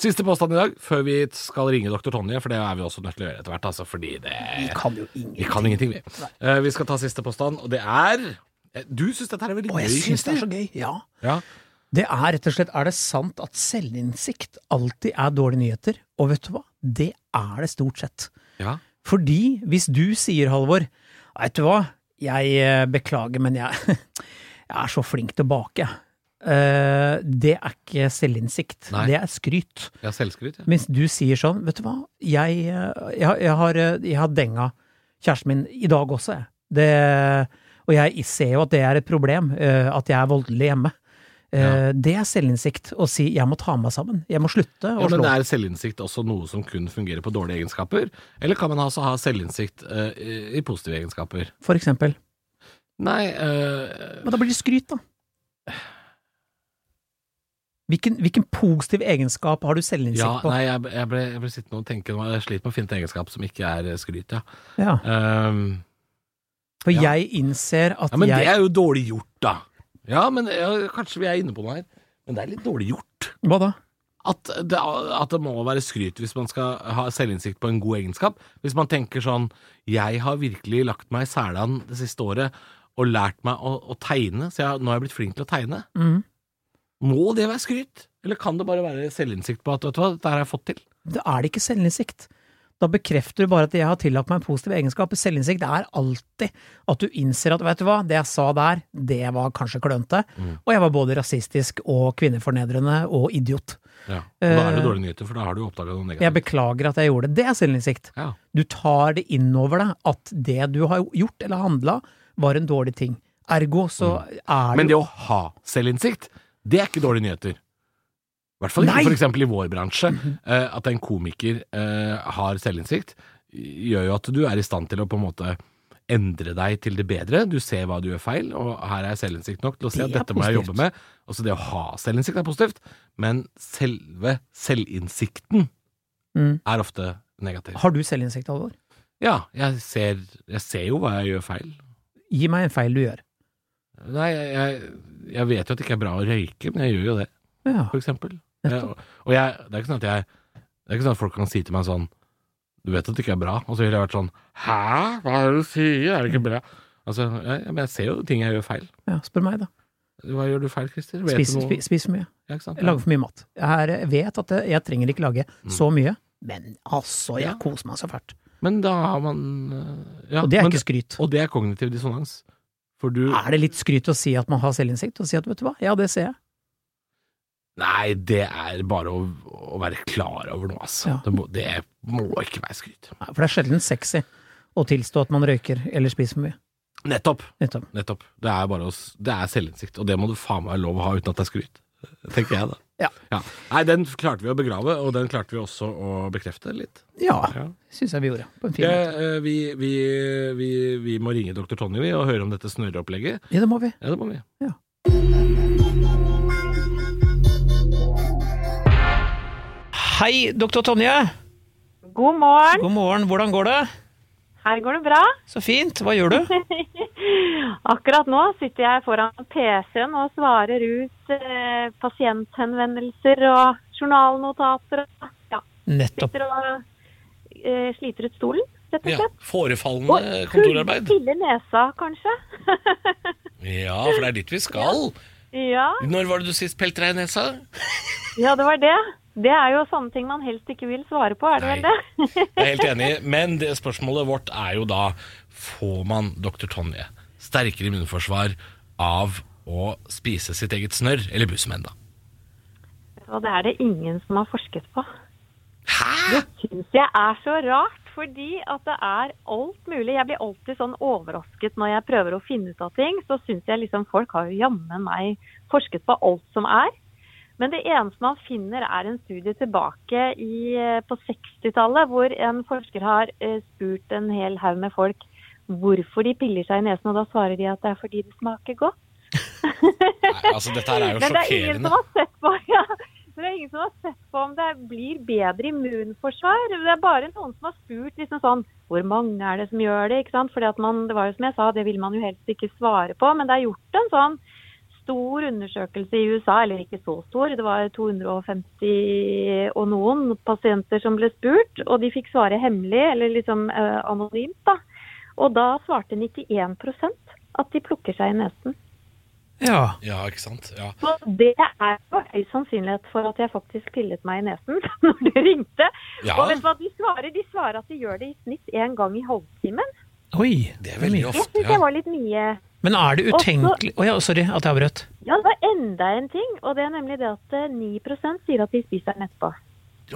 S2: Siste påstand i dag, før vi skal ringe doktor Tonje, for det er vi også nødt til å gjøre etter hvert. Altså, fordi det
S3: Vi kan jo ingen
S2: Vi kan ingenting, vi. Eh, vi skal ta siste påstand, og det er eh, Du syns dette her er veldig
S3: Å,
S2: gøy,
S3: jeg syns det er
S2: Christer.
S3: så gøy! Ja.
S2: Ja.
S3: Det er rett og slett Er det sant at selvinnsikt alltid er dårlige nyheter? Og vet du hva? Det er det stort sett.
S2: ja.
S3: Fordi hvis du sier, Halvor, veit du hva, jeg eh, beklager, men jeg, jeg er så flink til å bake. eh, det er ikke selvinnsikt,
S2: Nei.
S3: det er skryt.
S2: Jeg har selvskryt, ja.
S3: Mens du sier sånn, vet du hva, jeg, eh, jeg, har- jeg, har, eh, jeg har denga kjæresten min i dag også, jeg. Det, og jeg ser jo at det er et problem, eh, at jeg er voldelig hjemme. Eh, Det er selvinnsikt å si 'jeg må ta meg sammen', jeg må slutte
S2: Ja,
S3: å
S2: men
S3: slå.
S2: Er selvinnsikt også noe som kun fungerer på dårlige egenskaper? Eller kan man altså ha selvinnsikt eh, i- i positive egenskaper?
S3: For eksempel.
S2: Nei eh,
S3: Men da blir det skryt, da. Hvilken, hvilken positiv egenskap har du selvinnsikt
S2: ja,
S3: på?
S2: nei, jeg, jeg, ble, jeg ble sittende og tenke nå, Jeg sliter med å finne et egenskap som ikke er eh, skryt, ja.
S3: Ja,
S2: Ehm,
S3: for
S2: ja.
S3: jeg innser at
S2: ja men
S3: jeg
S2: det er jo dårlig gjort, da. Ja, men ja, kanskje vi er inne på noe her. Men det er litt dårlig gjort.
S3: Hva da?
S2: At det, at det må være skryt hvis man skal ha selvinnsikt på en god egenskap. Hvis man tenker sånn Jeg har virkelig lagt meg i selan det siste året og lært meg å, å tegne, så jeg, nå har jeg blitt flink til å tegne.
S3: Mhm.
S2: Må det være skryt? Eller kan det bare være selvinnsikt på at vet du hva, dette her har jeg fått til?
S3: Da er det ikke selvinnsikt. Da bekrefter du bare at jeg har tillagt meg en positiv egenskap. Selvinnsikt er alltid at du innser at vet du hva, det jeg sa der, det var kanskje klønete.
S2: Mm.
S3: Og jeg var både rasistisk og kvinnefornedrende og idiot.
S2: Ja. Og da er det
S3: Eh,
S2: dårlige nyheter, for da har du oppdaga noe
S3: Jeg
S2: negativt.
S3: beklager at jeg gjorde det. Det er selvinnsikt.
S2: Ja.
S3: Du tar det inn over deg at det du har gjort eller handla, var en dårlig ting. Ergo så er
S2: Mm. Men
S3: det
S2: det å ha selvinnsikt, det er ikke dårlige nyheter. I hvert fall
S3: Nei! Mhm.
S2: ikke for eksempel i vår bransje. eh, At en komiker eh, har selvinnsikt, gjør jo at du er i stand til å på en måte endre deg til det bedre. Du ser hva du gjør feil, og her er selvinnsikt nok til å si
S3: Det
S2: at
S3: er
S2: dette må jeg
S3: positivt.
S2: jobbe med. Også det å ha selvinnsikt er positivt, men selve selvinnsikten
S3: Mm.
S2: er ofte negativ.
S3: Har du selvinnsikt, Alvor?
S2: Ja, jeg ser, jeg ser jo hva jeg gjør feil.
S3: Gi meg en feil du gjør.
S2: Nei, jeg, jeg, jeg vet jo at det ikke er bra å røyke, men jeg gjør jo det.
S3: Ja.
S2: for eksempel. Jeg,
S3: Nettopp.
S2: og jeg, det er ikke sånn at jeg Det er ikke sånn at folk kan si til meg sånn Du vet at det ikke er bra? Og så ville jeg vært sånn Hæ? Hva er det du sier? Er det ikke bra? Altså, jeg, men jeg ser jo ting jeg gjør feil.
S3: ja spør meg, da.
S2: Hva gjør du feil, Christer? Vet
S3: Spis,
S2: du noe?
S3: spi- spis for mye.
S2: Ja, ikke sant?
S3: Jeg lager for mye mat. Jeg er- vet at jeg- jeg trenger ikke lage så mye, men altså, jeg
S2: Ja.
S3: koser meg så fælt.
S2: Men da har man øh, ja,
S3: Og det er
S2: men-
S3: ikke skryt.
S2: og det er kognitiv dissonans. For du
S3: Er det litt skryt å si at man har selvinnsikt, og si at vet du hva, ja, det ser jeg.
S2: Nei, det er bare å, å være klar over noe, altså.
S3: Ja.
S2: Det, må, det må ikke være skryt.
S3: Nei, For det er sjelden sexy å tilstå at man røyker eller spiser for mye.
S2: Nettopp!
S3: Nettopp.
S2: Nettopp. Det er, bare å s- det er selvinnsikt, og det må du faen meg ha lov å ha uten at det er skryt. Tenker jeg, da.
S3: Ja.
S2: Nei, den klarte vi å begrave, og den klarte vi også å bekrefte litt.
S3: Ja,
S2: Ja.
S3: syns jeg vi gjorde. På en fin
S2: Det,
S3: måte.
S2: eh, vi, vi, vi, vi må ringe doktor Tonje vi, og høre om dette snørreopplegget.
S3: Ja, det må vi.
S2: Ja, det må vi.
S3: Ja. Hei, doktor Tonje.
S1: God morgen.
S3: God morgen, hvordan går det?
S1: Her går det bra.
S3: Så fint, hva gjør du?
S1: Akkurat nå sitter jeg foran PC-en og svarer ut eh, pasienthenvendelser og journalnotater. og- Ja,
S3: Nettopp.
S1: sitter og eh, sliter ut stolen, rett og
S2: Ja,
S1: slett.
S2: Forefallende kontorarbeid.
S1: Stille nesa, kanskje.
S2: Ja, for det er dit vi skal.
S1: ja.
S2: Når var det du sist pelte deg i nesa?
S1: ja, det var det. Det er jo sånne ting man helst ikke vil svare på, er det vel
S2: Nei.
S1: det?
S2: Jeg er helt enig, men det spørsmålet vårt er jo da Får man Dr. Tonje sterkere immunforsvar av å spise sitt eget snørr, eller bussemenn, da?
S1: Og det er det ingen som har forsket på.
S2: Hæ?!
S1: syns jeg er så rart, fordi at det er alt mulig. Jeg blir alltid sånn overrasket når jeg prøver å finne ut av ting. Så syns jeg liksom folk har jo jammen meg forsket på alt som er. Men det eneste man finner er en studie tilbake i, eh, på 60-tallet, hvor en forsker har eh, spurt en hel haug med folk hvorfor de piller seg i nesen, og da svarer de at det er fordi det smaker godt.
S2: Nei, altså, dette her er jo
S1: Men det er ingen
S2: sjokkerende.
S1: som har sett på, ja. Men det er ingen som har sett på om det blir bedre immunforsvar. Det er bare noen som har spurt liksom sånn Hvor mange er det som gjør det? ikke sant? Fordi at man, det var jo som jeg sa, det vil man jo helst ikke svare på. Men det er gjort en sånn stor undersøkelse i USA, eller ikke så stor. Det var 250 og noen pasienter som ble spurt, og de fikk svare hemmelig, eller liksom eh, anonymt, da. Og da svarte 91 at de plukker seg i nesen.
S3: Ja.
S2: Ja, ikke sant? Ja.
S1: Så det er jo høy sannsynlighet for at jeg faktisk pillet meg i nesen når du ringte.
S2: Ja.
S1: Og vet du hva de svarer? De svarer at de gjør det i snitt én gang i halvtimen.
S3: Oi.
S2: Det er veldig
S1: Jeg
S2: ofte,
S1: syns det
S2: ja.
S1: var litt mye.
S3: Men er det
S1: Og så-
S3: utenkelig Å ja, sorry at jeg avbrøt.
S1: Ja, det var enda en ting, og det er nemlig det at eh, 9 sier at de spiser den etterpå.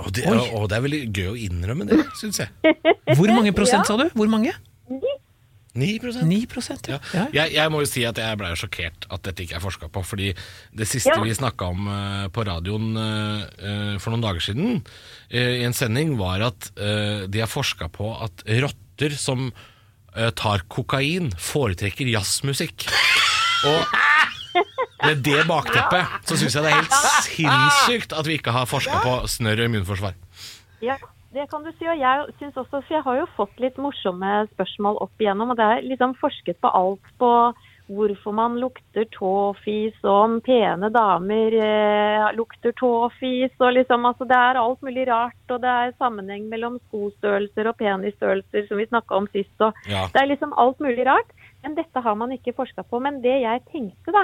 S2: Og det,
S3: Oi.
S2: og det er veldig gøy å innrømme det, syns jeg.
S3: Hvor mange prosent, sa du? Hvor mange?
S2: 9 prosent.
S3: 9 prosent, ja. ja.
S2: Jeg, jeg må jo si at jeg ble sjokkert at dette ikke er forska på. Fordi det siste
S1: Ja.
S2: vi snakka om eh, på radioen eh, eh, for noen dager siden, eh, i en sending, var at eh, de har forska på at rotter som eh, tar kokain, foretrekker jazzmusikk. Og med det bakteppet så syns jeg det er helt sinnssykt at vi ikke har forska på snørr og immunforsvar.
S1: Ja, det kan du si. Og jeg syns også, for jeg har jo fått litt morsomme spørsmål opp igjennom, og det er liksom forsket på alt på hvorfor man lukter tåfis, og om pene damer eh, lukter tåfis, og liksom altså det er alt mulig rart, og det er sammenheng mellom skostørrelser og penisstørrelser som vi snakka om sist, og
S2: Ja.
S1: det er liksom alt mulig rart. Men dette har man ikke forska på. Men det jeg tenkte, da,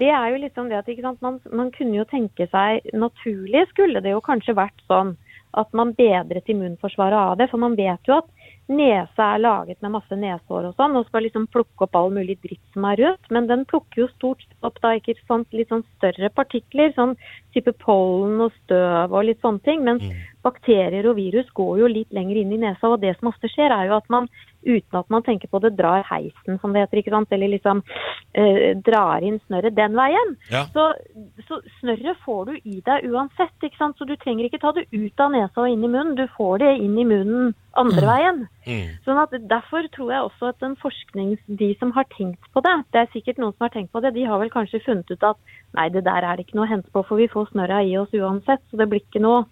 S1: det er jo liksom det at ikke sant, man, man kunne jo tenke seg Naturlig skulle det jo kanskje vært sånn at man bedret immunforsvaret av det. For man vet jo at nesa er laget med masse neshår og sånn, og skal liksom plukke opp all mulig dritt som er rundt. Men den plukker jo stort sett opp da, ikke sant, litt sånn større partikler, sånn type pollen og støv og litt sånne ting. Mens bakterier og virus går jo litt lenger inn i nesa, og det som ofte skjer er jo at man uten at man tenker på det, drar heisen, som det heter, ikke sant? eller liksom eh, drar inn snørret den veien.
S2: Ja.
S1: Så, så snørret får du i deg uansett, ikke sant? så du trenger ikke ta det ut av nesa og inn i munnen, du får det inn i munnen andre veien.
S2: Mm.
S1: Sånn at Derfor tror jeg også at den forskning, de som har tenkt på det, det er sikkert noen som har tenkt på det, de har vel kanskje funnet ut at nei, det der er det ikke noe å hente på, for vi får snørra i oss uansett, så det blir ikke noe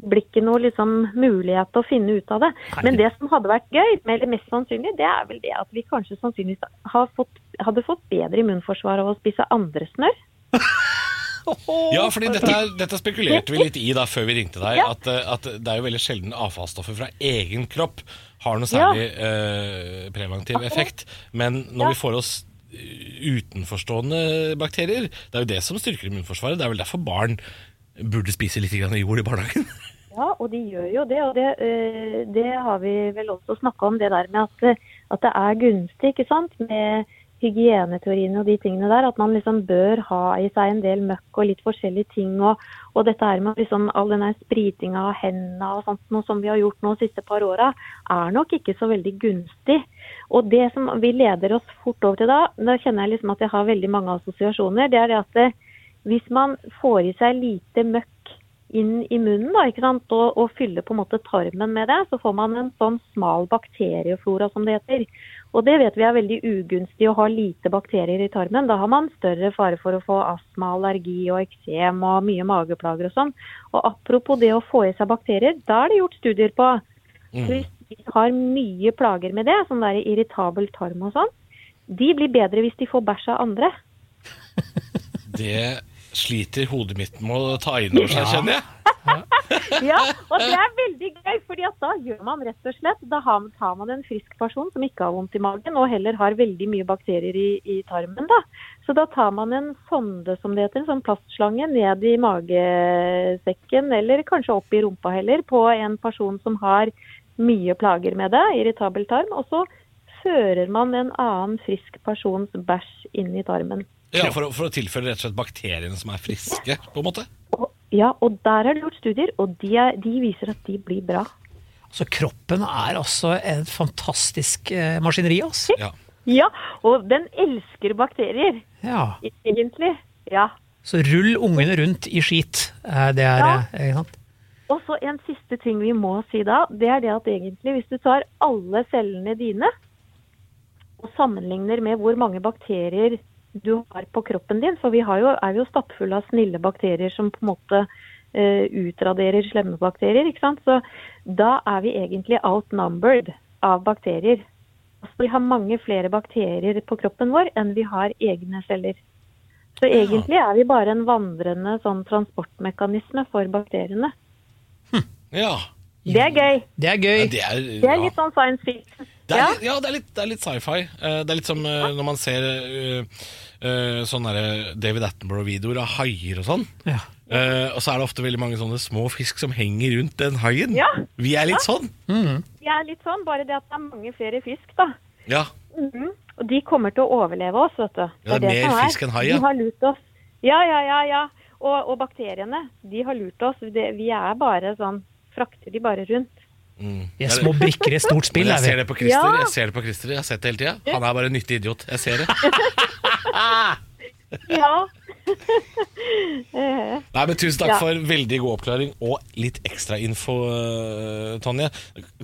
S1: blir ikke noe liksom, mulighet til å finne ut av det. Men det som hadde vært gøy, eller mest sannsynlig, det er vel det at vi kanskje sannsynligvis har fått, hadde fått bedre immunforsvar av å spise andre snørr.
S2: Ja, fordi dette, er- dette spekulerte vi litt i da før vi ringte deg.
S1: Ja.
S2: At, eh, at det er jo veldig sjelden avfallsstoffer fra egen kropp har noe særlig eh, preventiv effekt. Men når
S1: Ja.
S2: vi får oss eh, utenforstående bakterier Det er jo det som styrker immunforsvaret. Det er vel derfor barn burde spise litt grann jord i barnehagen.
S1: Ja, og de gjør jo det. Og det, eh, det har vi vel også snakka om, det der med at, eh, at det er gunstig ikke sant? med hygieneteoriene og de tingene der. At man liksom bør ha i seg en del møkk og litt forskjellige ting. Og, og dette her med liksom all den her spritinga av hendene og sånt noe som vi har gjort nå de siste par åra, er nok ikke så veldig gunstig. Og det som vi leder oss fort over til da, da kjenner jeg liksom at jeg har veldig mange assosiasjoner, det er det at eh, hvis man får i seg lite møkk inn i munnen da, ikke sant? Og, og fyller på en måte tarmen med det, så får man en sånn smal bakterieflora som det heter. Og det vet vi er veldig ugunstig å ha lite bakterier i tarmen. Da har man større fare for å få astma, allergi og eksem og mye mageplager og sånn. Og apropos det å få i seg bakterier, da er det gjort studier på. Hvis de har mye plager med det, sånn der irritabel tarm og sånn, de blir bedre hvis de får bæsj av andre.
S2: Det sliter hodet mitt med å ta inn over seg, kjenner jeg.
S1: Ja, og det er veldig gøy, fordi at da gjør man rett og slett Da har, tar man en frisk person som ikke har vondt i magen, og heller har veldig mye bakterier i, i tarmen, da. Så da tar man en sonde, som det heter, en sånn plastslange, ned i magesekken, eller kanskje opp i rumpa heller, på en person som har mye plager med det, irritabel tarm. Og så fører man en annen frisk persons bæsj inn i tarmen.
S2: Ja, for, å- for å tilføre rett og slett bakteriene som er friske, på en måte.
S1: Og, ja, og der er det gjort studier, og de, er, de viser at de blir bra.
S3: Så kroppen er altså et fantastisk eh, maskineri, altså.
S2: Ja.
S1: Ja, og den elsker bakterier,
S3: Ja.
S1: egentlig. Ja,
S3: Så rull ungene rundt i skit. Eh, Det er
S1: Ja.
S3: eh, ikke sant?
S1: Og så en siste ting vi må si da, det er det at egentlig hvis du tar alle cellene dine og sammenligner med hvor mange bakterier du har på kroppen din, for vi har jo, er jo stappfulle av snille bakterier som på en måte eh, utraderer slemme bakterier, ikke sant? Så da er vi egentlig outnumbered av bakterier. Altså, vi har mange flere bakterier på kroppen vår enn vi har egne celler. Så egentlig er vi bare en vandrende sånn transportmekanisme for bakteriene.
S2: Ja.
S1: Det er gøy.
S3: Det er gøy.
S2: ja det er,
S1: Det
S2: ja.
S1: er litt sånn science fiction.
S2: Det er,
S1: Ja.
S2: litt- ja, det er litt, det er litt sci-fi. Eh, Det er litt som eh, når man ser eh, eh, sånne der David Attenborough-videoer av haier og sånn.
S3: Ja.
S2: Eh, og så er det ofte veldig mange sånne små fisk som henger rundt den haien.
S1: Ja.
S2: Vi er litt sånn.
S1: Det er litt sånn, bare det at det er mange flere fisk, da.
S2: Ja.
S1: Mhm. Og de kommer til å overleve oss, vet du.
S2: Ja, det er mer
S1: som
S2: fisk enn hai, ja.
S1: De har lurt oss. Ja, ja, ja. ja. Og, og bakteriene, de har lurt oss. Det, vi er bare sånn Frakter de bare rundt.
S2: Mm.
S3: Vi er
S2: Jeg-
S3: små brikker i et stort
S2: Men
S3: spill.
S2: jeg ser
S3: Er vi.
S2: det på Christer.
S1: Ja.
S2: Jeg ser det på Christer, jeg har sett det hele tiden Han er bare en nyttig idiot. Jeg ser det.
S1: Ja. Eh,
S2: Nei, men Tusen takk
S1: Ja.
S2: for veldig god oppklaring og litt ekstrainfo, Tonje.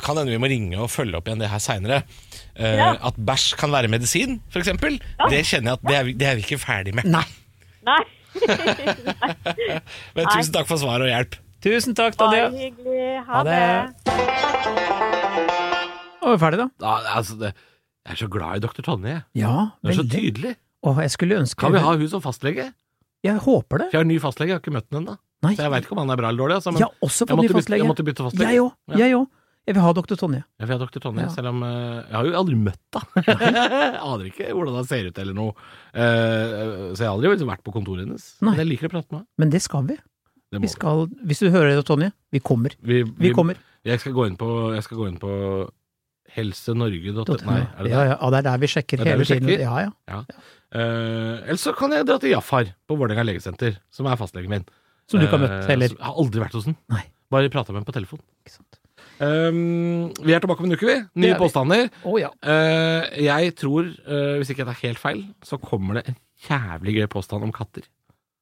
S2: Kan hende vi må ringe og følge opp igjen det her seinere.
S1: Ja.
S2: At bæsj kan være medisin, f.eks. eksempel Det kjenner jeg at det er, vi, det er vi ikke ferdig med.
S3: Nei.
S1: nei.
S2: Men tusen takk for svaret og hjelp.
S3: Tusen takk,
S1: Bare
S3: Tanja.
S1: hyggelig.
S3: Ha
S1: Ha det.
S3: det. Å, er vi ferdig, da?
S2: altså, jeg er så glad i doktor Tonje.
S3: Ja, veldig.
S2: tydelig.
S3: Å, jeg skulle ønske
S2: hun som fastlege?
S3: Jeg håper det.
S2: jeg har ny fastlege, jeg har ikke møtt henne ennå.
S3: Nei.
S2: vet ikke om han er bra eller dårlig. altså,
S3: Jeg har også fått ny fastlege.
S2: bytte
S3: Jeg òg.
S2: Ja.
S3: Jeg òg. Jeg vil ha doktor Tonje.
S2: Ja, for jeg er doktor Tonje,
S3: Ja.
S2: selv om eh, Jeg har jo aldri møtt henne. Aner ikke hvordan han ser ut eller noe. Eh, så jeg har aldri liksom vært på kontoret hennes. Men
S3: Nei.
S2: jeg liker å prate med henne.
S3: Men det skal vi.
S2: Det
S3: vi
S2: må
S3: skal, hvis du hører det, Tonje, vi kommer.
S2: vi. Vi-
S3: Vi
S2: vi-
S3: kommer.
S2: Jeg skal gå inn på, jeg skal gå inn på helsenorge.no. Nei, er det det?
S3: ja, ja, ja, det er der vi sjekker
S2: Det er der
S3: hele
S2: vi sjekker.
S3: tiden. Ja, ja.
S2: Eh, Eller så kan jeg dra til Jafar på Vålerenga legesenter, som er fastlegen min.
S3: Som du ikke har
S2: Eh,
S3: møtt heller.
S2: som- Jeg har aldri vært hos den.
S3: Nei.
S2: Bare prata med henne på telefon.
S3: Ikke sant.
S2: Um, vi er tilbake om en uke, vi.
S3: Det
S2: Nye
S3: er vi.
S2: påstander.
S3: Å ja.
S2: Eh, jeg tror, eh, hvis ikke jeg tar helt feil, så kommer det en jævlig gøy påstand om katter.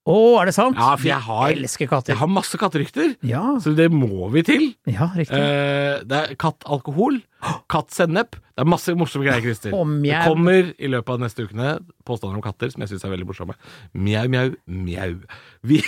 S3: Å, er det sant?
S2: Ja, for jeg har,
S3: elsker
S2: jeg
S3: katter.
S2: har masse katterykter,
S3: Ja,
S2: så det må vi til.
S3: ja riktig.
S2: Eh, det er kattalkohol, kattsennep. Det er masse morsomme greier, Christer.
S3: Å,
S2: Det
S3: mjau.
S2: kommer i løpet av de neste ukene påstander om katter som jeg syns er veldig morsomme. Mjau, mjau, mjau. Vi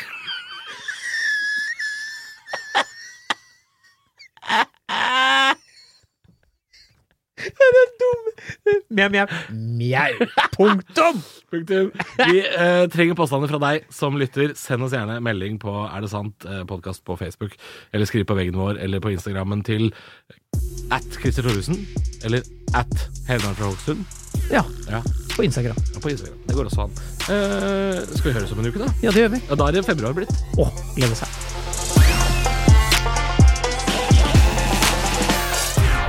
S3: Mjau, mjau. Mjau. Punktum!
S2: Punktum. Vi eh, trenger påstander fra deg som lytter. Send oss gjerne melding på Er det sant? Eh, podkast på Facebook, eller skriv på veggen vår eller på Instagrammen til at Christer Thoresen eller at Helmarn fra Hokksund.
S3: Ja,
S2: Ja,
S3: på Instagram.
S2: ja, på Instagram. Det går også an. Eh, skal vi høres om en uke, da?
S3: Ja, det gjør vi.
S2: Ja, Da er det februar blitt.
S3: Å, glede seg.